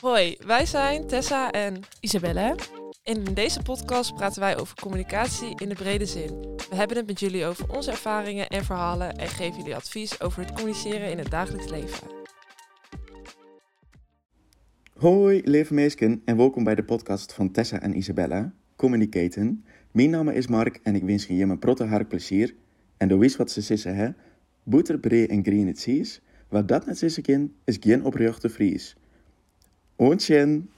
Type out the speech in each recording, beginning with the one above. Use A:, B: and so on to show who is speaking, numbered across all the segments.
A: Hoi, wij zijn Tessa en
B: Isabelle.
A: in deze podcast praten wij over communicatie in de brede zin. We hebben het met jullie over onze ervaringen en verhalen en geven jullie advies over het communiceren in het dagelijks leven.
C: Hoi, lieve meesken en welkom bij de podcast van Tessa en Isabella, Communicaten. Mijn naam is Mark en ik wens je mijn protte haar plezier. En doe eens wat ze sissen hè, boeter, bree en green het zies. Wat dat net sissen kan, is geen oprechte vries. Ontjen,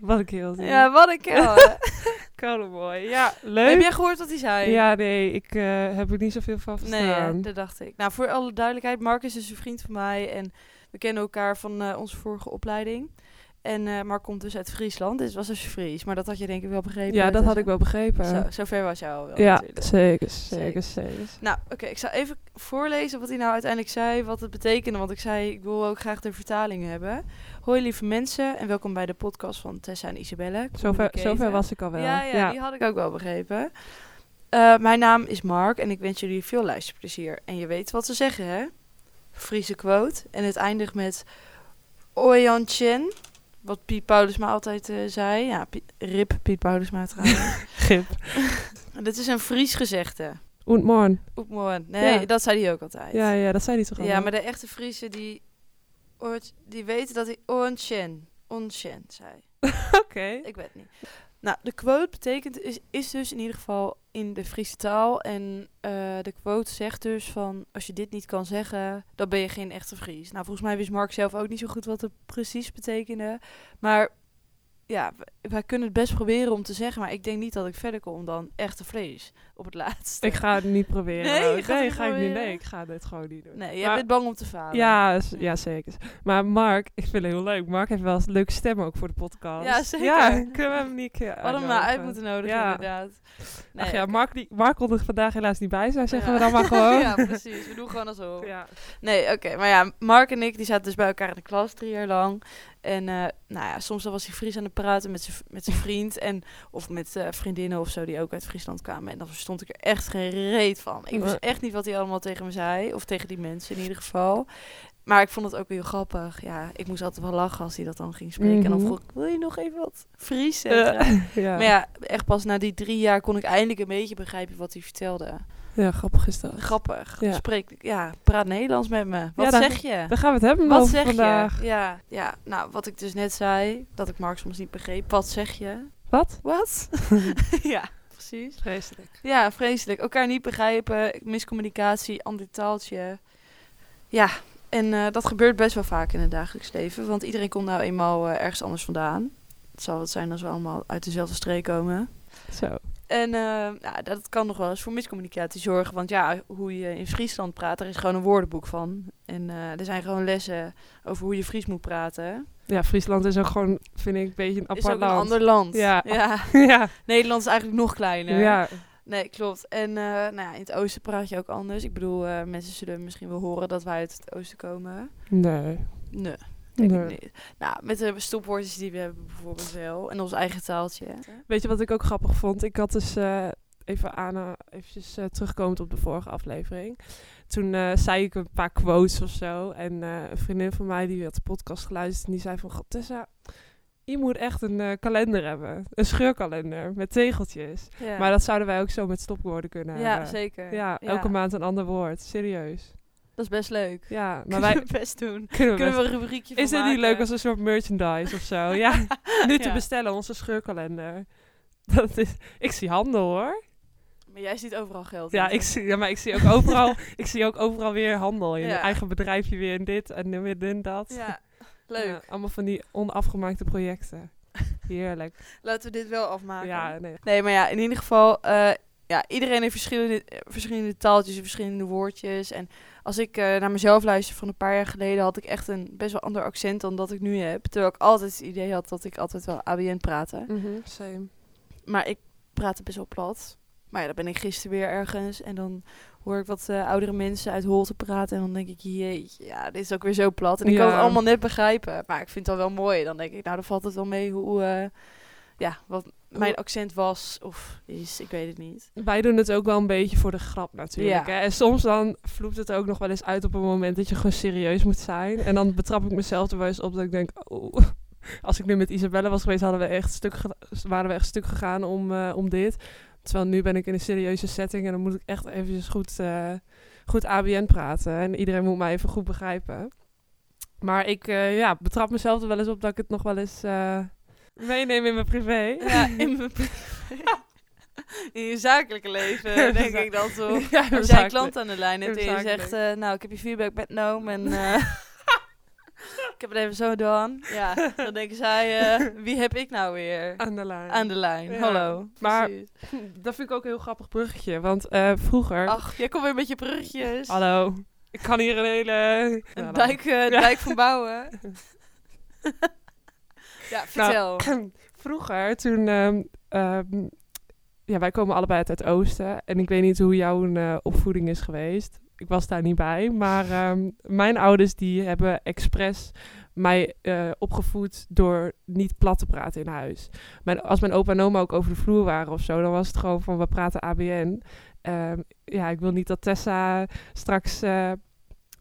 A: Wat ik heel
B: Ja, wat een kerel.
A: kan mooi. Ja,
B: Heb
A: leuk.
B: jij gehoord wat hij zei?
A: Ja, nee, ik eh, heb er niet zoveel van
B: Nee,
A: verstaan.
B: hè, dat dacht ik. Nou, voor alle duidelijkheid, Marcus is dus een vriend van mij en we kennen elkaar van eh, onze vorige opleiding. En eh Mark komt dus uit Friesland, dus het was dus Fries. Maar dat had je denk ik dus wel begrepen.
A: ja,
B: hè,
A: dat had
B: Tessa?
A: ik wel begrepen.
B: Zo, zover was jou wel
A: ja,
B: natuurlijk.
A: zeker, zeker, zeker.
B: Nou, oké, ik zal even voorlezen wat hij nou uiteindelijk zei, wat het betekende. Want ik zei, ik wil ook graag de vertaling hebben. Hoi lieve mensen en welkom bij de podcast van Tessa en Isabelle.
A: Zover, zover
B: Communicate.
A: was ik al wel.
B: Ja, ja, die had ik ook wel begrepen. Eh, mijn naam is Mark en ik wens jullie veel luisterplezier. En je weet wat ze zeggen, hè? Friese quote. En het eindigt met Oyan Chen. Wat Piet Paulusma altijd eh, zei. Ja, Piet, rip Piet Paulusma trouwens.
A: Gip.
B: Dit is een Fries gezegde.
A: Und morgen.
B: Oepmoorn. Nee,
A: Ja.
B: dat zei hij ook altijd.
A: Ja, ja, dat zei hij toch al.
B: Ja, maar de echte Friese die, oort- die weten dat hij Oyan Chen, Oyan Chen zei.
A: Oké.
B: Ik weet het niet. Nou, de quote betekent, is, is dus in ieder geval in de Friese taal. En eh, de quote zegt dus van, als je dit niet kan zeggen, dan ben je geen echte Fries. Nou, volgens mij wist Mark zelf ook niet zo goed wat het precies betekende. Maar ja, w- wij kunnen het best proberen om te zeggen. Maar ik denk niet dat ik verder kom dan echte Fries op het laatste.
A: Ik ga het niet proberen.
B: Nee,
A: hoor.
B: je gaat het
A: nee
B: niet
A: ga ik niet.
B: proberen?
A: Nee, ik ga dit gewoon niet doen.
B: Nee, jij
A: Maar-
B: bent bang om te falen.
A: Ja, s- ja, zeker. Maar Mark, ik vind het heel leuk. Mark heeft wel eens een leuke stem ook voor de podcast.
B: Ja, zeker.
A: Ja, kunnen we hem niet keer
B: We hadden hem maar uit moeten nodigen,
A: Ja.
B: inderdaad. Nee,
A: Ach ja,
B: oké.
A: Mark, die, Mark kon er vandaag helaas niet bij zijn, zeggen
B: Ja.
A: we dan maar gewoon.
B: ja, precies. We doen gewoon alsof.
A: Ja.
B: Nee, oké. Maar ja, Mark en ik die zaten dus bij elkaar in de klas drie jaar lang. En eh, nou ja, soms dan was hij Fries aan het praten met zijn- met zijn vriend. En, of met eh, vriendinnen of zo die ook uit Friesland kwamen. En dan verstond ik er echt geen reet van. Ik wist
A: Nee.
B: echt niet wat hij allemaal tegen me zei. Of tegen die mensen in ieder geval. Maar ik vond het ook heel grappig. Ja, ik moest altijd wel lachen als hij dat dan ging spreken. En dan
A: Mhm.
B: vroeg ik, wil je nog even wat Fries zeggen?
A: Eh, ja.
B: Maar ja, echt pas na die drie jaar kon ik eindelijk een beetje begrijpen wat hij vertelde.
A: Ja, grappig is dat.
B: Grappig.
A: Ja.
B: Spreek, ja, praat Nederlands met me. Wat
A: Ja, dan-
B: zeg je?
A: Daar gaan we het hebben
B: Wat
A: over
B: zeg
A: vandaag.
B: je? Ja, ja, nou, wat ik dus net zei, dat ik Mark soms niet begreep. Wat zeg je?
A: Wat?
B: Wat? ja, precies.
A: Vreselijk.
B: Ja, vreselijk. Elkaar niet begrijpen, miscommunicatie, ander taaltje. Ja, en eh, dat gebeurt best wel vaak in het dagelijks leven. Want iedereen komt nou eenmaal eh, ergens anders vandaan. Het zal het zijn als we allemaal uit dezelfde streek komen.
A: Zo.
B: En eh, nou, dat kan nog wel eens voor miscommunicatie zorgen. Want ja, hoe je in Friesland praat, er is gewoon een woordenboek van. En eh, er zijn gewoon lessen over hoe je Fries moet praten.
A: Ja, Friesland is ook gewoon, vind ik, een beetje een apart
B: is ook
A: land.
B: een ander land.
A: Ja.
B: ja.
A: ja.
B: Nederland is eigenlijk nog kleiner.
A: ja.
B: Nee, klopt. En eh, nou ja, in het oosten praat je ook anders. Ik bedoel, eh, mensen zullen misschien wel horen dat wij uit het oosten komen.
A: Nee.
B: Nee, denk
A: Nee.
B: ik niet. Nou, met de stopwoordjes die we hebben bijvoorbeeld wel. En ons eigen taaltje.
A: Weet je wat ik ook grappig vond? Ik had dus eh, even aan, eh, eventjes eh, terugkomend op de vorige aflevering. Toen eh, zei ik een paar quotes of zo. En eh, een vriendin van mij die had de podcast geluisterd en die zei van... "God, Tessa, je moet echt een eh, kalender hebben. Een scheurkalender met tegeltjes.
B: Ja,
A: Maar dat zouden wij ook zo met stopwoorden kunnen
B: ja
A: hebben.
B: zeker.
A: Ja, elke maand een ander woord. Serieus.
B: Dat is best leuk.
A: Ja, maar
B: Maar
A: wij
B: wij best doen.
A: kunnen we
B: Kunnen
A: best-
B: we een rubriekje
A: Is dit
B: het
A: niet leuk als een soort merchandise of zo? Ja, nu te
B: Ja.
A: bestellen, onze scheurkalender. Dat is, ik zie handel hoor.
B: Maar jij ziet overal geld.
A: Ja,
B: in.
A: ik zie, ja, maar ik zie ook overal, ik zie ook overal weer handel. Je
B: Ja.
A: eigen bedrijfje weer in dit en weer in dat.
B: Ja,
A: Ja,
B: leuk.
A: allemaal van die onafgemaakte projecten. Heerlijk.
B: Laten we dit wel afmaken.
A: Ja, nee.
B: Nee, maar ja, in ieder geval... eh, ja, iedereen heeft verschillende, eh, verschillende taaltjes en verschillende woordjes. En als ik eh, naar mezelf luister van een paar jaar geleden... had ik echt een best wel ander accent dan dat ik nu heb. Terwijl ik altijd het idee had dat ik altijd wel ABN praatte.
A: Same.
B: Maar ik praatte best wel plat. Maar ja, dan ben ik gisteren weer ergens en dan hoor ik wat eh, oudere mensen uit Holte praten. En dan denk ik, jeetje, ja, dit is ook weer zo plat. En ik kan
A: Ja.
B: het allemaal net begrijpen. Maar ik vind het al wel mooi. Dan denk ik, nou, dan valt het wel mee hoe, eh, ja, wat mijn
A: Hoe-
B: accent was of is. Ik weet het niet.
A: Wij doen het ook wel een beetje voor de grap natuurlijk.
B: Ja.
A: Hè? En soms dan vloept het ook nog wel eens uit op een moment dat je gewoon serieus moet zijn. En dan betrap ik mezelf er wel eens op dat ik denk, oh, Als ik nu met Isabelle was geweest, hadden we echt stuk ge- waren we echt stuk gegaan om, eh, om dit. Terwijl nu ben ik in een serieuze setting en dan moet ik echt eventjes goed, eh, goed ABN praten. En iedereen moet mij even goed begrijpen. Maar ik eh, ja, betrap mezelf er wel eens op dat ik het nog wel eens eh, meeneem in mijn privé.
B: Ja, in, mijn in je zakelijke leven
A: Ja,
B: denk
A: za-
B: ik dan toch.
A: Ja,
B: Als jij een
A: zakelijk.
B: klant aan de lijn hebt en je
A: Zakelijk.
B: zegt, eh, nou, ik heb je feedback metgenomen en eh, ik heb het even zo gedaan. Ja, dan denken zij, eh, wie heb ik nou weer
A: aan de lijn.
B: aan de lijn?
A: Ja,
B: Hallo.
A: maar-
B: precies.
A: Dat vind ik ook een heel grappig bruggetje. Want eh, vroeger.
B: Ach, jij komt weer met je brugjes.
A: Hallo. Ik kan hier een hele.
B: Een
A: Nou,
B: dijk, eh, dijk van bouwen. ja, vertel.
A: Vroeger, toen. ehm, ehm, ja, wij komen allebei uit het Oosten. En ik weet niet hoe jouw eh, opvoeding is geweest. Ik was daar niet bij. Maar ehm, mijn ouders die hebben expres mij eh, opgevoed door niet plat te praten in huis. Mijn, als mijn opa en oma ook over de vloer waren of zo, dan was het gewoon van we praten ABN. Ehm, ja, ik wil niet dat Tessa straks eh, eh,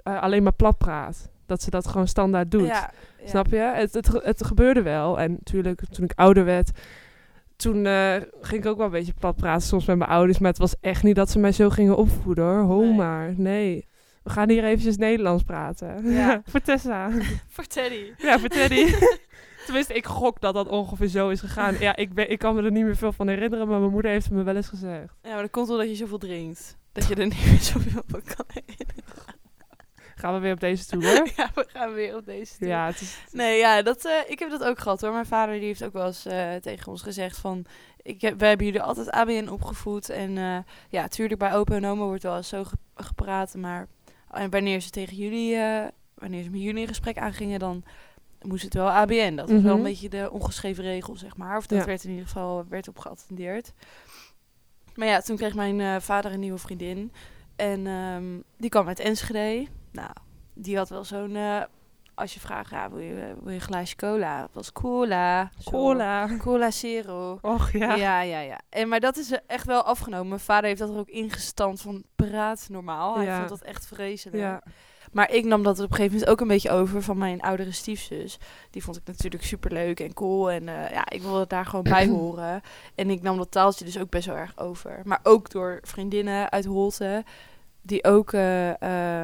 A: alleen maar plat praat. Dat ze dat gewoon standaard doet.
B: Ja, ja.
A: Snap je? Het, het, het gebeurde wel. En natuurlijk, toen ik ouder werd, toen eh, ging ik ook wel een beetje plat praten soms met mijn ouders. Maar het was echt niet dat ze mij zo gingen opvoeden hoor. Ho
B: Nee.
A: maar. Nee. We gaan hier eventjes Nederlands praten.
B: Ja.
A: voor Tessa.
B: Voor Teddy.
A: ja, voor Teddy. Tenminste, ik gok dat dat ongeveer zo is gegaan. Ja, ik, ben, ik kan me er niet meer veel van herinneren, maar mijn moeder heeft het me wel eens gezegd.
B: Ja, maar dat komt omdat je zoveel drinkt. Dat je er niet meer zoveel van kan
A: Gaan we weer op deze toe hoor.
B: Ja, we gaan weer op deze toer.
A: ja, het is,
B: Nee, ja, dat, eh, ik heb dat ook gehad hoor. Mijn vader die heeft ook wel eens eh, tegen ons gezegd van... Ik heb, wij hebben jullie altijd ABN opgevoed. En eh, ja, tuurlijk bij opa en oma wordt wel eens zo ge- gepraat. Maar oh, en wanneer ze tegen jullie... eh, wanneer ze met jullie een gesprek aangingen, dan moest het wel ABN. Dat was wel een
A: Mhm.
B: beetje de ongeschreven regel, zeg maar. Of dat
A: Ja.
B: werd in ieder geval werd op geattendeerd. Maar ja, toen kreeg mijn eh, vader een nieuwe vriendin. En ehm, die kwam uit Enschede. Nou, die had wel zo'n... eh, als je vraagt, ja, wil, je, eh, wil je een glaasje cola? Het was cola. Zo.
A: cola.
B: Cola zero.
A: Och ja.
B: Ja. ja, ja, En, maar dat is eh, echt wel afgenomen. Mijn vader heeft dat er ook ingestampt van praat normaal. Hij
A: Ja.
B: vond dat echt vreselijk.
A: Ja.
B: Maar ik nam dat op een gegeven moment ook een beetje over van mijn oudere stiefzus. Die vond ik natuurlijk superleuk en cool. En eh, ja, ik wilde daar gewoon bij horen. En ik nam dat taaltje dus ook best wel erg over. Maar ook door vriendinnen uit Holte. Die ook, eh,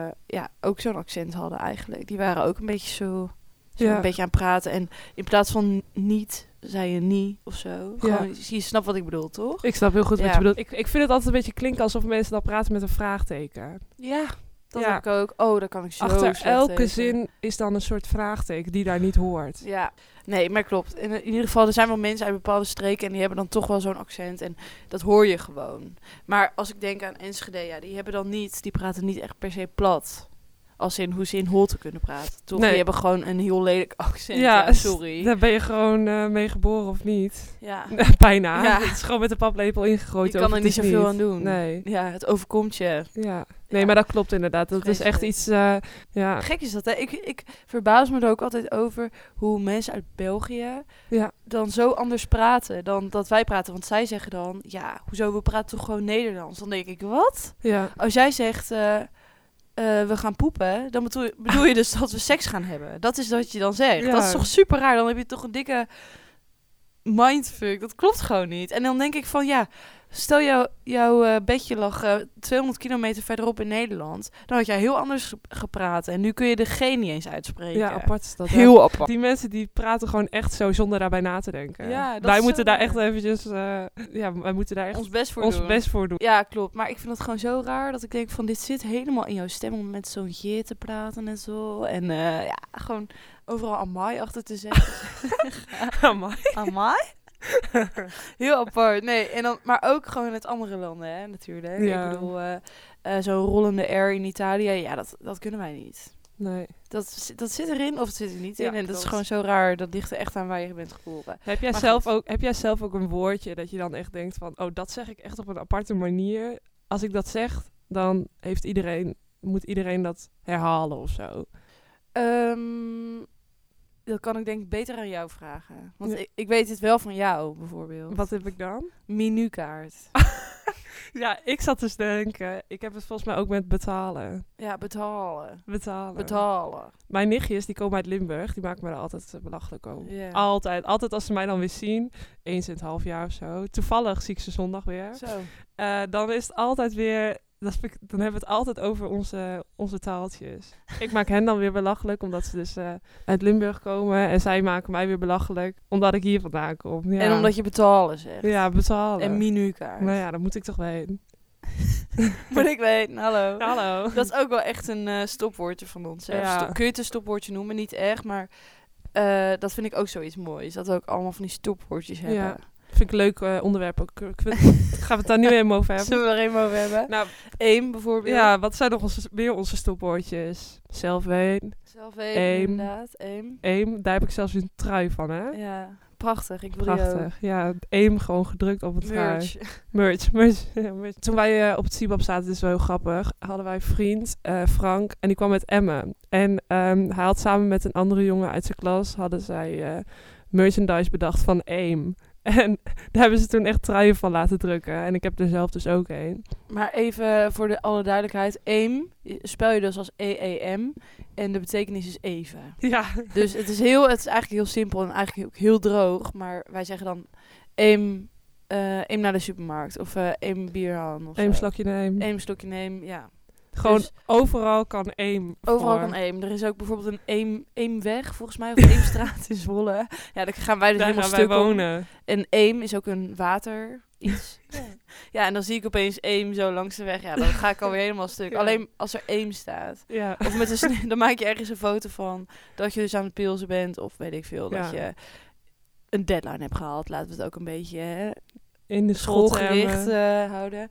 B: eh, ja, ook zo'n accent hadden eigenlijk. Die waren ook een beetje zo, zo
A: Ja.
B: een beetje aan het praten. En in plaats van niet, zei je niet of zo. Gewoon, je snapt wat ik bedoel, toch?
A: Ik snap heel goed wat
B: Ja.
A: je bedoelt. Ik, ik vind het altijd een beetje klinken alsof mensen dan praten met een vraagteken.
B: Ja, dat
A: Ja.
B: heb ik ook. Oh, daar kan ik zo
A: Achter
B: slecht
A: elke
B: tegen.
A: zin is dan een soort vraagteken die daar niet hoort.
B: Ja, nee, maar klopt. In, in ieder geval, er zijn wel mensen uit bepaalde streken en die hebben dan toch wel zo'n accent. En dat hoor je gewoon. Maar als ik denk aan Enschede, ja, die hebben dan niet, die praten niet echt per se plat. Als in hoe ze in Holte kunnen praten. Toch?
A: Nee.
B: Die hebben gewoon een heel lelijk accent. Ja,
A: Ja,
B: sorry.
A: Daar ben je gewoon eh, mee geboren of niet.
B: Ja,
A: Bijna.
B: Ja.
A: Het is gewoon met de paplepel ingegooid.
B: je
A: of
B: kan er
A: het
B: niet
A: is
B: zoveel aan doen.
A: Nee.
B: Ja, het overkomt je.
A: Ja. Nee,
B: Ja.
A: maar dat klopt inderdaad. Dat is echt
B: Vreselijk.
A: iets... eh, ja.
B: Gek is dat, hè? Ik, ik verbaas me er ook altijd over hoe mensen uit België
A: Ja.
B: dan zo anders praten dan dat wij praten. Want zij zeggen dan, ja, hoezo, we praten toch gewoon Nederlands? Dan denk ik, wat?
A: Ja.
B: Als jij zegt, eh, eh, we gaan poepen, dan bedoel, bedoel je dus dat we seks gaan hebben. Dat is wat je dan zegt.
A: Ja.
B: Dat is toch super raar? Dan heb je toch een dikke mindfuck. Dat klopt gewoon niet. En dan denk ik van, ja, stel jou, jouw eh, bedje lag eh, 200 kilometer verderop in Nederland. Dan had jij heel anders ge- gepraat. En nu kun je de G niet eens uitspreken.
A: ja, apart is dat. hè?
B: Heel apart.
A: Die mensen die praten gewoon echt zo zonder daarbij na te denken.
B: Ja, dat
A: wij
B: is
A: moeten
B: zo
A: daar echt
B: raar.
A: eventjes... eh, ja, wij moeten daar echt
B: Ons best voor
A: ons
B: doen.
A: best voor doen.
B: Ja, klopt. Maar ik vind het gewoon zo raar dat ik denk van dit zit helemaal in jouw stem om met zo'n je te praten en zo. En eh, ja, gewoon overal amai achter te zeggen.
A: Amai.
B: amai? Heel apart. Nee, en dan, maar ook gewoon het andere landen, hè, natuurlijk.
A: Ja.
B: Ik bedoel, eh, eh, zo'n rollende R in Italië, ja, dat, dat kunnen wij niet.
A: Nee.
B: Dat, zi- dat zit erin of het zit er niet in.
A: Ja,
B: en dat is
A: klopt.
B: gewoon zo raar. Dat ligt er echt aan waar je bent geboren.
A: Heb jij,
B: Maar
A: zelf
B: goed.
A: ook, heb jij zelf ook een woordje dat je dan echt denkt van... Oh, dat zeg ik echt op een aparte manier. Als ik dat zeg, dan heeft iedereen, moet iedereen dat herhalen of zo.
B: Ehm, dat kan ik denk ik beter aan jou vragen. Want
A: Ja.
B: ik, ik weet het wel van jou, bijvoorbeeld.
A: Wat heb ik dan?
B: Menukaart.
A: Ja, ik zat dus te denken. Ik heb het volgens mij ook met betalen.
B: Ja, betalen.
A: Betalen.
B: Betalen.
A: Mijn nichtjes, die komen uit Limburg. Die maken me er altijd eh, belachelijk over.
B: Ja.
A: Altijd. Altijd als ze mij dan weer zien. Eens in het half jaar of zo. Toevallig zie ik ze zondag weer.
B: Zo.
A: Eh, dan is het altijd weer. Dat vind ik- dan hebben we het altijd over onze, onze taaltjes. Ik maak hen dan weer belachelijk, omdat ze dus eh, uit Limburg komen. En zij maken mij weer belachelijk, omdat ik hier vandaan kom. Ja.
B: En omdat je betalen zegt.
A: Ja, betalen.
B: En menukaart.
A: nou ja, daar moet ik toch wel heen.
B: Moet ik weten, hallo.
A: Hallo.
B: Dat is ook wel echt een eh, stopwoordje van ons. hè.
A: Ja.
B: Stop- kun je het een stopwoordje noemen? Niet echt, maar eh, dat vind ik ook zoiets moois. Dat we ook allemaal van die stopwoordjes hebben.
A: Ja. Vind ik een leuk eh, onderwerp ook. Ik vind- Gaan we het daar nu helemaal over hebben?
B: Zullen we er een over hebben?
A: Nou,
B: Eén bijvoorbeeld.
A: ja, wat zijn nog onze, weer onze stopwoordjes? Zelfween,
B: Zelf één,
A: Eén.
B: inderdaad. Eén.
A: eem, daar heb ik zelfs een trui van, hè?
B: Ja, prachtig. Ik wil die ook.
A: Prachtig. Ja, eem gewoon gedrukt op het trui.
B: Merch.
A: Merch, merch, ja, merch. Toen wij eh, op het Sibab zaten, dit is wel heel grappig, hadden wij een vriend, eh, Frank, en die kwam met Emmen. En ehm, hij had samen met een andere jongen uit zijn klas, hadden zij eh, merchandise bedacht van AIM. En daar hebben ze toen echt truien van laten drukken. En ik heb er zelf dus ook een.
B: Maar even voor de alle duidelijkheid. Aim spel je dus als E-E-M. En de betekenis is even.
A: Ja,
B: Dus het is, heel, het is eigenlijk heel simpel en eigenlijk ook heel droog. Maar wij zeggen dan eem, eh, eem naar de supermarkt. Of eh eem bier halen. Of
A: AIM
B: zo.
A: slokje neem.
B: Eem slokje neem, ja.
A: Gewoon
B: dus-
A: overal kan AIM.
B: Overal
A: voor.
B: kan Dus eem. Er is ook bijvoorbeeld een eem, eemweg, volgens mij. Of een eemstraat in Zwolle. Ja, daar gaan wij dus
A: Daar
B: helemaal
A: gaan wij
B: stuk om.
A: wonen.
B: En eem is ook een water iets. ja. en dan zie ik opeens eem zo langs de weg. Ja, dan ga ik alweer helemaal stuk.
A: Ja.
B: Alleen als er eem staat.
A: Ja.
B: Of met een sne- dan maak je ergens een foto van dat je dus aan het pilsen bent. Of weet ik veel, dat
A: Ja.
B: je een deadline hebt gehaald. Laten we het ook een beetje hè,
A: In de school
B: schoolgericht eh, houden.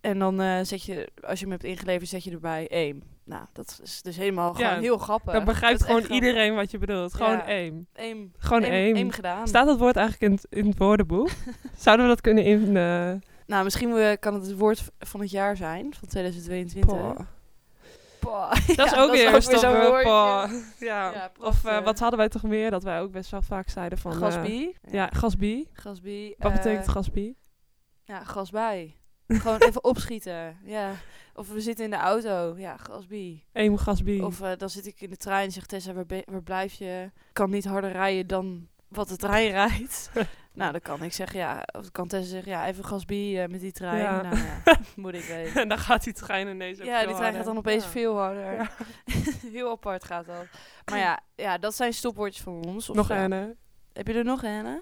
B: En dan eh, zet je, als je hem hebt ingeleverd, zet je erbij eem. Nou, dat is dus helemaal
A: Ja,
B: gewoon heel grappig.
A: Dan
B: Dat
A: begrijpt
B: is echt
A: gewoon
B: grappig.
A: iedereen wat je bedoelt. Gewoon
B: Ja.
A: AIM.
B: Eem,
A: Gewoon
B: eem,
A: AIM.
B: eem gedaan.
A: Staat dat woord eigenlijk in het, in het woordenboek? Zouden we dat kunnen in... eh,
B: Nou, misschien eh, kan het het woord v- van het jaar zijn, van 2022.
A: poh.
B: Poh.
A: Dat is
B: Ja,
A: ook weer een
B: zo'n
A: stopwoord,
B: woordje.
A: poh. Ja.
B: Ja,
A: of eh,
B: prachtig.
A: wat hadden wij toch meer? Dat wij ook best wel vaak zeiden van... eh,
B: Gasbie.
A: ja, gasbie.
B: Gasbie.
A: Wat
B: eh,
A: betekent gasbie?
B: Ja, gasbij. Gewoon even opschieten. Ja. Of we zitten in de auto. Ja, gasbie.
A: Eem gasbie.
B: Of eh, dan zit ik in de trein en zegt Tessa, waar, be- waar blijf je? Kan niet harder rijden dan wat de trein rijdt. nou, dan kan ik zeggen, ja. Of kan Tessa zeggen, ja, even gasbie eh, met die trein.
A: Ja.
B: Nou ja, moet ik weten.
A: en dan gaat die trein ineens ook
B: Ja,
A: veel
B: die
A: harder.
B: trein gaat dan opeens
A: Ja.
B: veel harder.
A: Ja.
B: Heel apart gaat dat. Maar ja, ja, dat zijn stopwoordjes van ons. Of
A: Nog
B: ja.
A: een, hè?
B: Heb je er nog een, hè?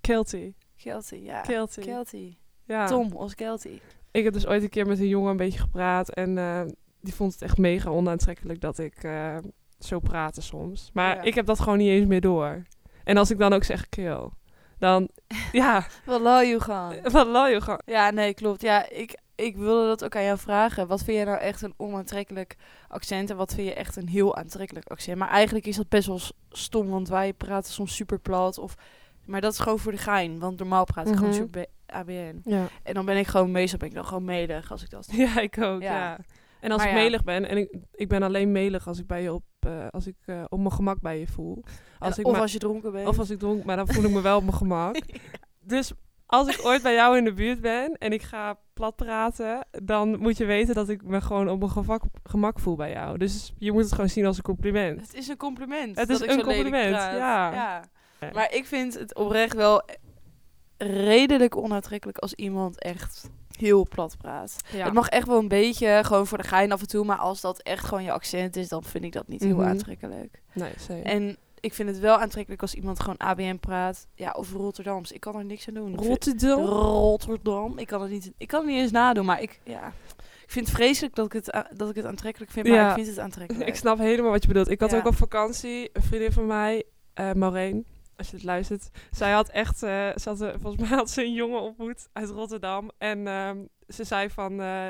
A: Kelty.
B: Kelty, ja.
A: Kelty.
B: Ah, Kelty.
A: Ja.
B: Tom, ons Kelty.
A: Ik heb dus ooit een keer met een jongen een beetje gepraat. En eh, die vond het echt mega onaantrekkelijk dat ik eh, zo praatte soms. Maar
B: Ja.
A: ik heb dat gewoon niet eens meer door. En als ik dan ook zeg keel, dan... Ja,
B: Wat lol, Johan.
A: wat lol je gewoon.
B: Ja, nee, klopt. Ja, ik, ik wilde dat ook aan jou vragen. Wat vind jij nou echt een onaantrekkelijk accent en wat vind je echt een heel aantrekkelijk accent? Maar eigenlijk is dat best wel s- stom, want wij praten soms super plat. Of, maar dat is gewoon voor de gein, want normaal praat ik
A: Mhm.
B: gewoon super ABN.
A: Ja.
B: En dan ben ik gewoon, meestal ben ik dan gewoon melig als ik dat...
A: Ja, ik ook. Ja.
B: Ja.
A: En als
B: Maar
A: ik
B: ja.
A: melig ben, en ik, ik ben alleen melig als ik bij je op, eh, als ik eh, op mijn gemak bij je voel. Als
B: En-
A: ik
B: of
A: ma-
B: als je dronken bent.
A: of als ik dronk, maar dan voel ik me wel op mijn gemak. Dus als ik ooit bij jou in de buurt ben en ik ga plat praten, dan moet je weten dat ik me gewoon op mijn gemak, gemak voel bij jou. Dus je moet het gewoon zien als een compliment.
B: Het is een compliment.
A: Het
B: dat
A: is
B: ik
A: een
B: zo lelijk
A: compliment,
B: praat.
A: ja. Ja.
B: Maar ik vind het oprecht wel eh, redelijk onaantrekkelijk als iemand echt heel plat praat.
A: Ja.
B: Het mag echt wel een beetje, gewoon voor de gein af en toe. Maar als dat echt gewoon je accent is, dan vind ik dat niet
A: Mhm.
B: heel aantrekkelijk.
A: Nee, zeker.
B: En ik vind het wel aantrekkelijk als iemand gewoon ABN praat. Ja, of Rotterdams. Ik kan er niks aan doen. Ik vind-
A: Rotterdam.
B: Rotterdam. Ik kan het niet, ik kan het niet eens nadoen, maar ik, ja. ik vind het vreselijk dat ik het, a- dat ik het aantrekkelijk vind, maar
A: Ja.
B: ik vind het aantrekkelijk.
A: Ik snap helemaal wat je bedoelt. Ik had
B: Ja.
A: ook op vakantie een vriendin van mij, eh Maureen, als je het luistert. Zij had echt, eh, ze had, eh, volgens mij had ze een jongen ontmoet uit Rotterdam. En ehm, ze zei van, eh,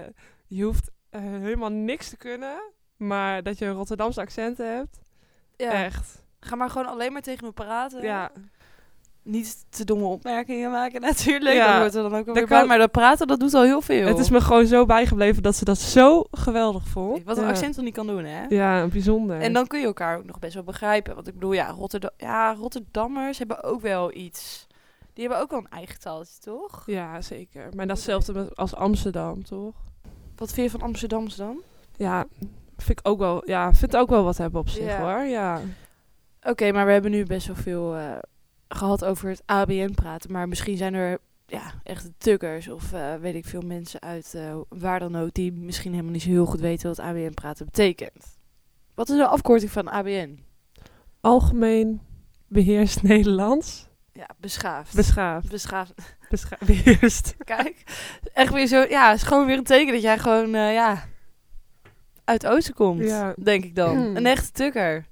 A: je hoeft eh, helemaal niks te kunnen, maar dat je een Rotterdamse accent hebt,
B: ja.
A: echt.
B: Ga maar gewoon alleen maar tegen me praten.
A: Ja,
B: Niet te domme opmerkingen maken natuurlijk.
A: Ja.
B: Dat hoort er dan ook wel weer
A: kan-
B: bij. Maar dat praten, dat doet al heel veel.
A: het is me gewoon zo bijgebleven dat ze dat zo geweldig vond.
B: Wat een
A: ja.
B: accent dan niet kan doen, hè?
A: Ja, bijzonder.
B: En dan kun je elkaar ook nog best wel begrijpen. Want ik bedoel, ja, Rotterdam ja Rotterdammers hebben ook wel iets. Die hebben ook wel een eigen taaltje, toch?
A: Ja, zeker. Maar datzelfde met- als Amsterdam, toch?
B: Wat vind je van Amsterdamse dan?
A: Ja, vind ik ook wel, ja, vind ook wel wat hebben op zich
B: Ja.
A: hoor. Ja.
B: Oké, maar we hebben nu best wel veel eh, gehad over het ABN praten. Maar misschien zijn er ja, echt tukkers of eh, weet ik veel mensen uit eh, waar dan ook... die misschien helemaal niet zo heel goed weten wat ABN praten betekent. Wat is de afkorting van ABN?
A: Algemeen beheerst Nederlands.
B: Ja, beschaafd.
A: Beschaafd.
B: beschaafd.
A: Bescha- beheerst.
B: Kijk, echt weer zo. Ja, het is gewoon weer een teken dat jij gewoon, eh, ja, uit Oosten komt.
A: Ja.
B: Denk ik dan.
A: Hmm.
B: Een echte tukker.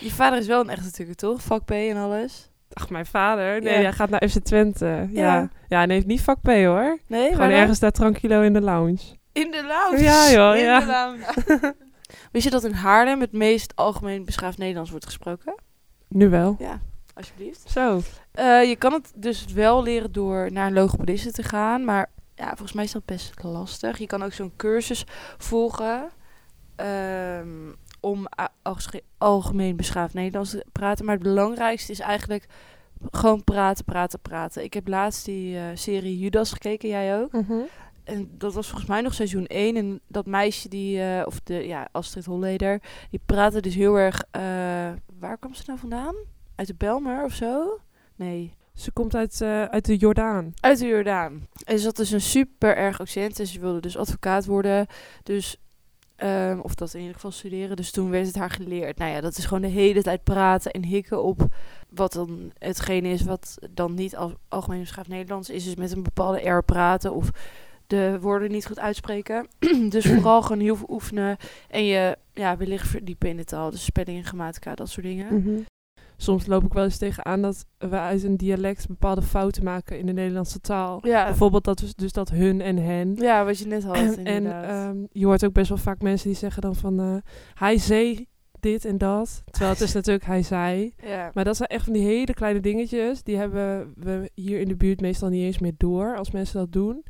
B: Je vader is wel een echte tukker, toch? Vak P en alles.
A: Ach, mijn vader. Nee,
B: Ja.
A: hij gaat naar FC Twente. Ja.
B: Ja.
A: Ja, en heeft niet vak P hoor.
B: Nee,
A: Gewoon
B: dan?
A: ergens daar tranquilo in de lounge.
B: In de lounge.
A: Ja, joh,
B: In
A: ja.
B: de lounge. Wist je dat in Haarlem het meest algemeen beschaafd Nederlands wordt gesproken?
A: Nu wel.
B: Alsjeblieft.
A: Zo.
B: Eh, je kan het dus wel leren door naar een logopediste te gaan, maar ja, volgens mij is dat best lastig. Je kan ook zo'n cursus volgen ehm, om a- algesche- algemeen beschaafd Nederlands te praten. Maar het belangrijkste is eigenlijk gewoon praten, praten, praten. Ik heb laatst die eh, serie Judas gekeken, jij ook. En dat was volgens mij nog seizoen 1. En dat meisje, die, eh, of de, ja, Astrid Holleder, die praatte dus heel erg... eh, waar kwam ze nou vandaan? Uit de Belmer of zo? Nee.
A: Ze komt uit, eh, uit de Jordaan.
B: Uit de Jordaan. En ze had dus een super erg accent en ze wilde dus advocaat worden. Dus, ehm, of dat in ieder geval studeren. Dus toen werd het haar geleerd. Nou ja, dat is gewoon de hele tijd praten en hikken op wat dan hetgene is wat dan niet al, algemeen beschaafd Nederlands is. Dus met een bepaalde R praten of de woorden niet goed uitspreken. dus vooral gewoon heel veel oefenen en je ja, wellicht verdiepen in de taal. Dus spelling en grammatica, dat soort
A: Mm.
B: dingen.
A: Mhm. Soms loop ik wel eens tegenaan dat we uit een dialect bepaalde fouten maken in de Nederlandse taal.
B: Ja,
A: Bijvoorbeeld dat, dus- dus dat hun en hen.
B: ja, wat je net had
A: en
B: inderdaad.
A: ehm, je hoort ook best wel vaak mensen die zeggen dan van eh, hij zei dit en dat. Terwijl het is natuurlijk hij zei.
B: ja.
A: Maar dat zijn echt van die hele kleine dingetjes. Die hebben we hier in de buurt meestal niet eens meer door als mensen dat doen.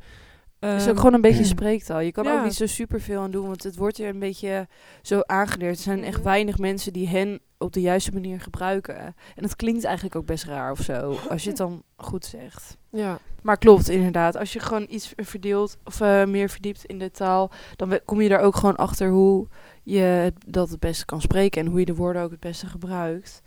B: Het is
A: Ehm,
B: ook gewoon een beetje spreektaal. Je kan
A: Ja.
B: ook niet zo superveel aan doen, want het wordt er een beetje zo aangeleerd. Er zijn echt
A: Mhm.
B: weinig mensen die hen op de juiste manier gebruiken. En het klinkt eigenlijk ook best raar of zo, als je het dan goed zegt.
A: Ja,
B: Maar klopt, inderdaad. Als je gewoon iets verdeelt of eh, meer verdiept in de taal, dan we- kom je er ook gewoon achter hoe je het- dat het beste kan spreken en hoe je de woorden ook het beste gebruikt.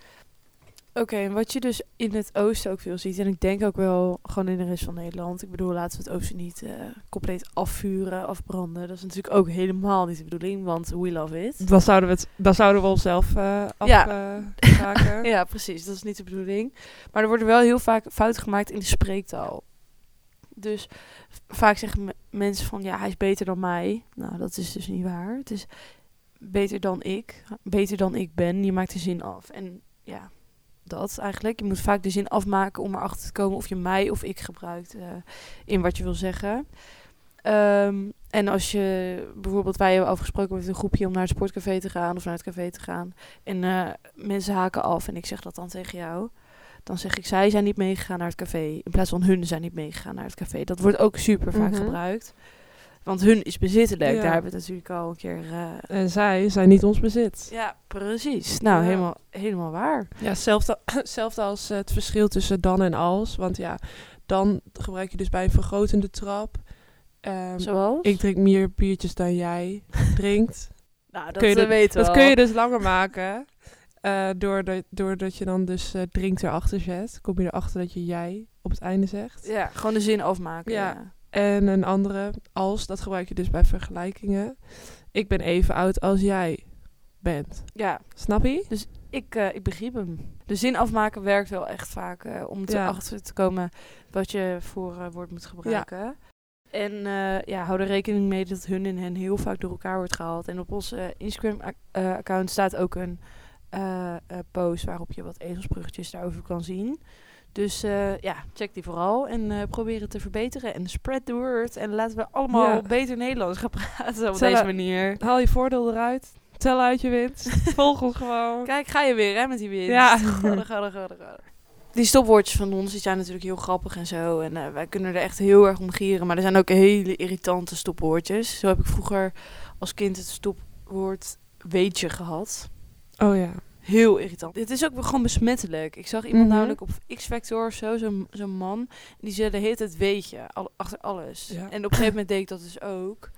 B: Oké, en wat je dus in het oosten ook veel ziet, en ik denk ook wel gewoon in de rest van Nederland. Ik bedoel, laten we het oosten niet eh, compleet afvuren, afbranden. Dat is natuurlijk ook helemaal niet de bedoeling, want we love it.
A: dan zouden we, het, dan zouden we onszelf eh
B: Ja.
A: afraken.
B: Ja, precies. Dat is niet de bedoeling. Maar er worden wel heel vaak fouten gemaakt in de spreektaal. Dus v- vaak zeggen me- mensen van, ja, hij is beter dan mij. Nou, dat is dus niet waar. Het is beter dan ik. Beter dan ik ben. Je maakt de zin af. En ja, dat eigenlijk. Je moet vaak de zin afmaken om erachter te komen of je mij of ik gebruikt eh, in wat je wil zeggen. Ehm, en als je bijvoorbeeld, wij hebben afgesproken met een groepje om naar het sportcafé te gaan of naar het café te gaan. En eh, mensen haken af en ik zeg dat dan tegen jou. Dan zeg ik, zij zijn niet meegegaan naar het café. In plaats van hun zijn niet meegegaan naar het café. Dat wordt ook super vaak
A: Mhm.
B: gebruikt. Want hun is bezittelijk.
A: Ja.
B: Daar hebben we het natuurlijk al een keer. eh,
A: En zij zijn niet ons bezit.
B: ja, precies. Nou,
A: Ja.
B: helemaal, helemaal waar.
A: Ja, hetzelfde, hetzelfde als eh, het verschil tussen dan en als. Want ja, dan gebruik je dus bij een vergrotende trap. Ehm,
B: Zoals?
A: ik drink meer biertjes dan jij drinkt.
B: nou, dat
A: kun je
B: eh, weten we
A: dat
B: al.
A: kun je dus langer maken. eh doordat, doordat je dan dus eh, drinkt erachter zet. Kom je erachter dat je jij op het einde zegt.
B: Ja, gewoon de zin afmaken.
A: Ja.
B: ja.
A: En een andere als, dat gebruik je dus bij vergelijkingen. Ik ben even oud als jij bent.
B: Ja,
A: Snap je?
B: ik, eh, ik begreep hem. De zin afmaken werkt wel echt vaak eh, om te
A: Ja.
B: achter te komen wat je voor eh, woord moet gebruiken. En eh, ja, hou er rekening mee dat hun en hen heel vaak door elkaar wordt gehaald. En op ons Instagram-account eh, staat ook een eh, eh, post waarop je wat ezelsbruggetjes daarover kan zien. Dus eh, ja, check die vooral en eh probeer het te verbeteren. En spread the word. En laten we allemaal
A: Ja.
B: beter Nederlands gaan praten op
A: Zullen-
B: deze manier.
A: Haal je voordeel eruit. Tel uit je winst. Volg ons gewoon.
B: Kijk, ga je weer hè, met die winst.
A: Ja.
B: Gadder, gadder, gadder, gadder. Die stopwoordjes van ons die zijn natuurlijk heel grappig en zo. En eh, wij kunnen er echt heel erg om gieren. Maar er zijn ook hele irritante stopwoordjes. Zo heb ik vroeger als kind het stopwoord weetje gehad.
A: Oh ja.
B: heel irritant. Het is ook weer gewoon besmettelijk. Ik zag iemand
A: Mhm.
B: namelijk op X-Factor of zo, zo'n zo'n man. Die zei de hele tijd weet je, al- achter alles.
A: Ja.
B: En op een gegeven moment deed ik dat dus ook.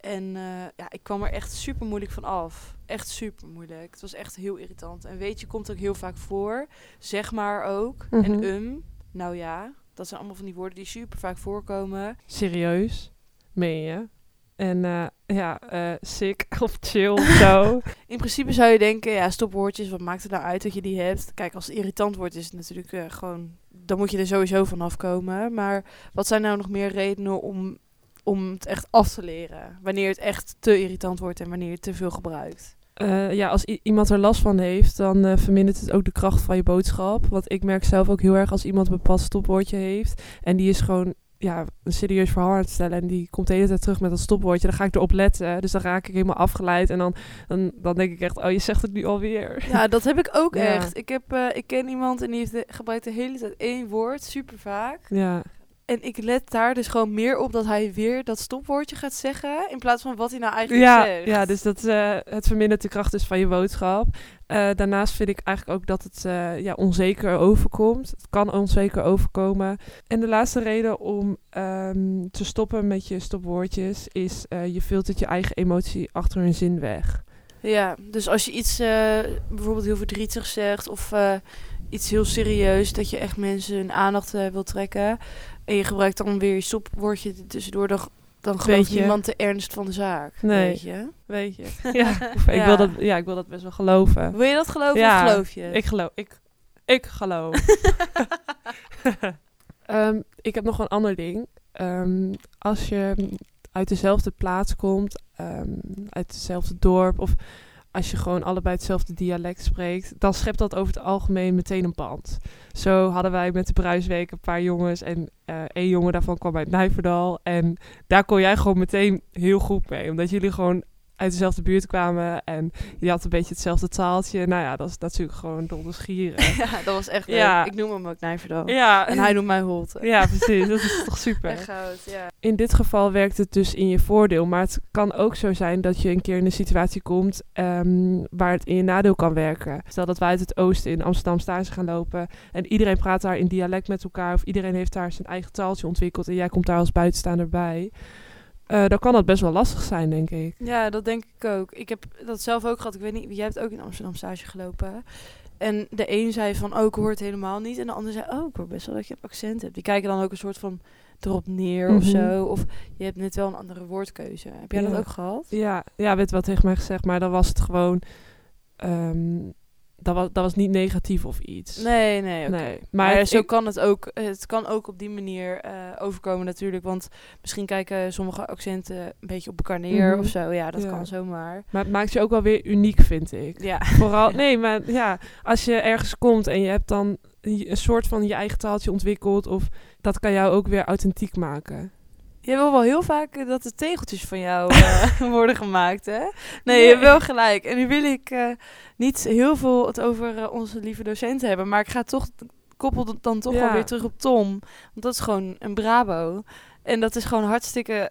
B: En eh, ja, ik kwam er echt super moeilijk van af. Echt super moeilijk. Het was echt heel irritant. En weet je, komt ook heel vaak voor. Zeg maar ook. En
A: Mhm.
B: um, nou ja. Dat zijn allemaal van die woorden die super vaak voorkomen.
A: Serieus, meen je? En eh, ja, eh, sick of chill of zo.
B: In principe zou je denken, ja, stopwoordjes, wat maakt het nou uit dat je die hebt? Kijk, als het irritant wordt, is het natuurlijk eh, gewoon... Dan moet je er sowieso van afkomen. Maar wat zijn nou nog meer redenen om, om het echt af te leren? Wanneer het echt te irritant wordt en wanneer je het te veel gebruikt?
A: Eh, ja, als i- iemand er last van heeft, dan eh, vermindert het ook de kracht van je boodschap. Want ik merk zelf ook heel erg als iemand een bepaald stopwoordje heeft. En die is gewoon ja, een serieus verhaal aan het stellen. En die komt de hele tijd terug met dat stopwoordje. Dan ga ik erop letten. Dus dan raak ik helemaal afgeleid. En dan, dan, dan denk ik echt, oh, je zegt het nu alweer.
B: Ja, dat heb ik ook
A: Ja.
B: echt. Ik, heb, eh, ik ken iemand en die heeft de, gebruikt de hele tijd één woord, super vaak.
A: Ja,
B: En ik let daar dus gewoon meer op dat hij weer dat stopwoordje gaat zeggen. In plaats van wat hij nou eigenlijk
A: ja,
B: zegt.
A: ja dus dat eh, het vermindert de kracht dus van je boodschap. Eh, daarnaast vind ik eigenlijk ook dat het eh, ja, onzeker overkomt. Het kan onzeker overkomen. En de laatste reden om ehm, te stoppen met je stopwoordjes is eh, je filtert je eigen emotie achter een zin weg.
B: Ja, dus als je iets eh, bijvoorbeeld heel verdrietig zegt of eh, iets heel serieus, dat je echt mensen hun aandacht eh, wil trekken en je gebruikt dan weer je stopwoordje er tussendoor, dan, dan gelooft
A: Weet je.
B: niemand de ernst van de zaak.
A: Nee.
B: Weet je?
A: Weet je? Ja, ik wil dat, ja, ik wil dat best wel geloven.
B: Wil je dat geloven
A: Ja,
B: of geloof je? het?
A: Ik geloof. Ik, ik geloof. Ehm, ik heb nog een ander ding. Ehm, als je uit dezelfde plaats komt, ehm, uit hetzelfde dorp, of als je gewoon allebei hetzelfde dialect spreekt, dan schept dat over het algemeen meteen een band. Zo hadden wij met de Bruisweek een paar jongens en eh één jongen daarvan kwam uit Nijverdal. En daar kon jij gewoon meteen heel goed mee, omdat jullie gewoon uit dezelfde buurt kwamen en je had een beetje hetzelfde taaltje. Nou ja, dat is natuurlijk gewoon donders gieren.
B: ja, dat was echt
A: Ja.
B: leuk. Ik noem hem ook Nijverdal.
A: ja,
B: En hij noemt mij Holte.
A: ja, precies. Dat is toch super.
B: Echt goud, ja.
A: In dit geval werkt het dus in je voordeel. Maar het kan ook zo zijn dat je een keer in een situatie komt ehm, waar het in je nadeel kan werken. Stel dat wij uit het oosten in Amsterdam stage gaan lopen en iedereen praat daar in dialect met elkaar. Of iedereen heeft daar zijn eigen taaltje ontwikkeld en jij komt daar als buitenstaander bij. Eh, dan kan dat best wel lastig zijn, denk ik.
B: Ja, dat denk ik ook. Ik heb dat zelf ook gehad. Ik weet niet, jij hebt ook in Amsterdam stage gelopen. En de een zei van, oh, ik hoor het helemaal niet. En de ander zei, oh, ik hoor best wel dat je een accent hebt. Die kijken dan ook een soort van erop neer of
A: Mhm.
B: zo. Of je hebt net wel een andere woordkeuze. Heb jij
A: Ja.
B: dat ook gehad?
A: Ja, ja, werd wel tegen mij gezegd, maar dan was het gewoon. ehm, dat, was, dat was niet negatief of iets.
B: Nee, nee, oké.
A: Nee,
B: Maar,
A: Maar,
B: zo
A: ik-
B: kan het ook. Het kan ook op die manier eh, overkomen natuurlijk. Want misschien kijken sommige accenten een beetje op elkaar neer
A: Mhm.
B: of zo. Ja, dat
A: Ja.
B: kan zomaar.
A: maar het maakt je ook wel weer uniek, vind ik.
B: Ja.
A: Vooral, nee, maar ja, als je ergens komt en je hebt dan je- een soort van je eigen taaltje ontwikkeld, of dat kan jou ook weer authentiek maken.
B: Jij wil wel heel vaak eh, dat de tegeltjes van jou eh, worden gemaakt, hè? Nee, je hebt
A: Nee.
B: wel gelijk. En nu wil ik eh, niet heel veel het over eh, onze lieve docenten hebben, maar ik ga toch koppel dat dan toch
A: Ja.
B: wel weer terug op Tom, want dat is gewoon een Brabo. En dat is gewoon hartstikke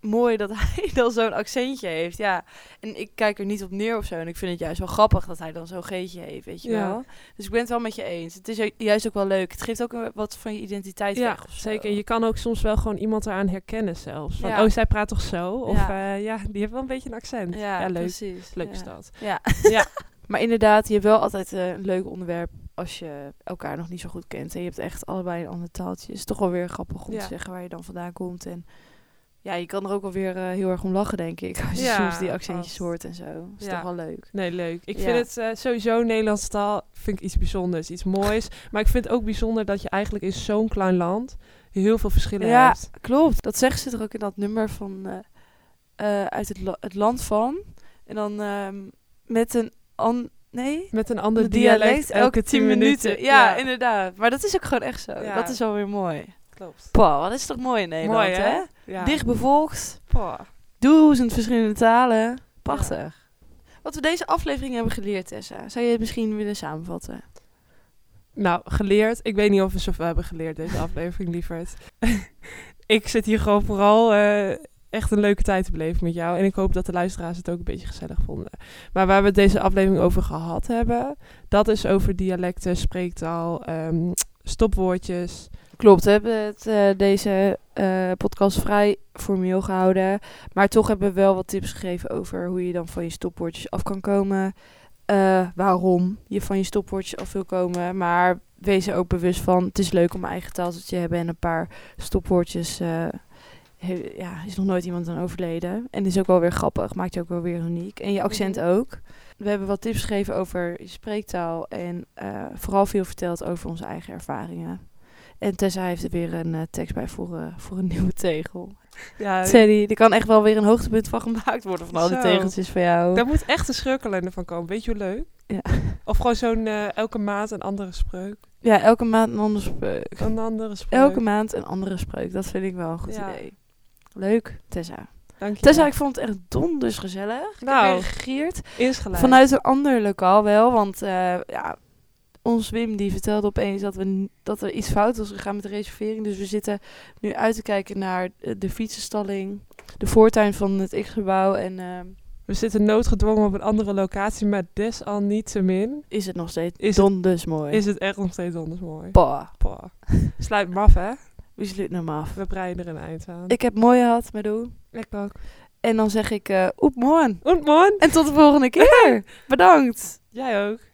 B: mooi dat hij dan zo'n accentje heeft. Ja, en ik kijk er niet op neer of zo. En ik vind het juist wel grappig dat hij dan zo'n geetje heeft, weet je
A: Ja.
B: wel. Dus ik ben het wel met je eens. Het is ju- juist ook wel leuk. Het geeft ook eh, wat van je identiteit
A: Ja,
B: weg. of zo.
A: zeker. En je kan ook soms wel gewoon iemand eraan herkennen zelfs. Van,
B: Ja.
A: oh, zij praat toch zo? Of
B: Ja.
A: ja, ja die heeft wel een beetje een accent. Ja, leuk.
B: precies.
A: Leuk
B: Ja.
A: is dat.
B: Ja.
A: Ja.
B: maar inderdaad, je hebt wel altijd eh, een leuk onderwerp als je elkaar nog niet zo goed kent. En je hebt echt allebei een ander taaltje. Het is toch wel weer grappig om
A: Ja.
B: te zeggen waar je dan vandaan komt. En ja, je kan er ook wel weer eh, heel erg om lachen, denk ik. Als je
A: Ja,
B: soms die accentjes
A: vast.
B: hoort en zo. Dat is
A: Ja.
B: toch wel leuk.
A: Nee, leuk. Ik
B: Ja.
A: vind het eh, sowieso Nederlandse taal vind ik iets bijzonders, iets moois. maar ik vind het ook bijzonder dat je eigenlijk in zo'n klein land heel veel verschillen
B: Ja.
A: hebt.
B: Klopt. Dat zeggen ze er ook in dat nummer van eh, eh, uit het, la- het land van. En dan ehm, met een... An nee?
A: Met een ander
B: Een
A: dialect, elke tien minuten.
B: Ja, inderdaad. Maar dat is ook gewoon echt zo.
A: Ja.
B: Dat is wel weer mooi.
A: klopt.
B: Pah, wat is toch mooi in Nederland,
A: Mooi, hè?
B: hè?
A: Ja.
B: Dicht bevolkt,
A: Pah.
B: duizend verschillende talen. Prachtig. Wat we deze aflevering hebben geleerd, Tessa, zou je het misschien willen samenvatten?
A: Nou, geleerd. Ik weet niet of we zoveel hebben geleerd deze aflevering, lieverd. ik zit hier gewoon vooral eh, echt een leuke tijd te beleven met jou. En ik hoop dat de luisteraars het ook een beetje gezellig vonden. Maar waar we het deze aflevering over gehad hebben, dat is over dialecten, spreektaal, ehm, stopwoordjes.
B: Klopt, we hebben het, eh, deze eh, podcast vrij formeel gehouden. Maar toch hebben we wel wat tips gegeven over hoe je dan van je stopwoordjes af kan komen. Eh, waarom je van je stopwoordjes af wil komen. Maar wees er ook bewust van, het is leuk om een eigen taaltje te hebben en een paar stopwoordjes. eh, he- ja, is nog nooit iemand aan overleden. En is ook wel weer grappig, maakt je ook wel weer uniek. En je accent ook. We hebben wat tips gegeven over je spreektaal en eh, vooral veel verteld over onze eigen ervaringen. En Tessa heeft er weer een eh, tekst bij voor, eh, voor een nieuwe tegel.
A: Ja,
B: Teddy, er kan echt wel weer een hoogtepunt van gemaakt worden van al die
A: Zo.
B: tegeltjes van jou.
A: daar moet echt een scheurkalender van komen. Weet je hoe leuk?
B: Ja.
A: Of gewoon zo'n eh, elke maand een andere spreuk.
B: Ja, elke maand een andere spreuk.
A: Een andere spreuk.
B: Elke maand een andere spreuk. Dat vind ik wel een goed
A: Ja.
B: idee. Leuk, Tessa.
A: Dank je.
B: Tessa,
A: wel.
B: ik vond het echt donders gezellig. Ik heb
A: Nou.
B: weer gegierd.
A: insgelijks.
B: Vanuit een ander lokaal wel, want eh, ja, ons Wim die vertelde opeens dat, we, n- dat er iets fout was gegaan met de reservering. Dus we zitten nu uit te kijken naar eh, de fietsenstalling, de voortuin van het X-gebouw en... ehm,
A: We zitten noodgedwongen op een andere locatie, maar desalniettemin
B: is het nog steeds
A: Is het-
B: donders mooi.
A: is het echt nog steeds anders mooi.
B: Pa,
A: Pa. Sluit me af, hè?
B: wie sluit nou maar af?
A: We breien er een eind aan.
B: Ik heb mooi gehad, Madou.
A: ik ook.
B: En dan zeg ik, eh, op morgen.
A: Und morgen.
B: En tot de volgende keer. Bedankt.
A: Jij ook.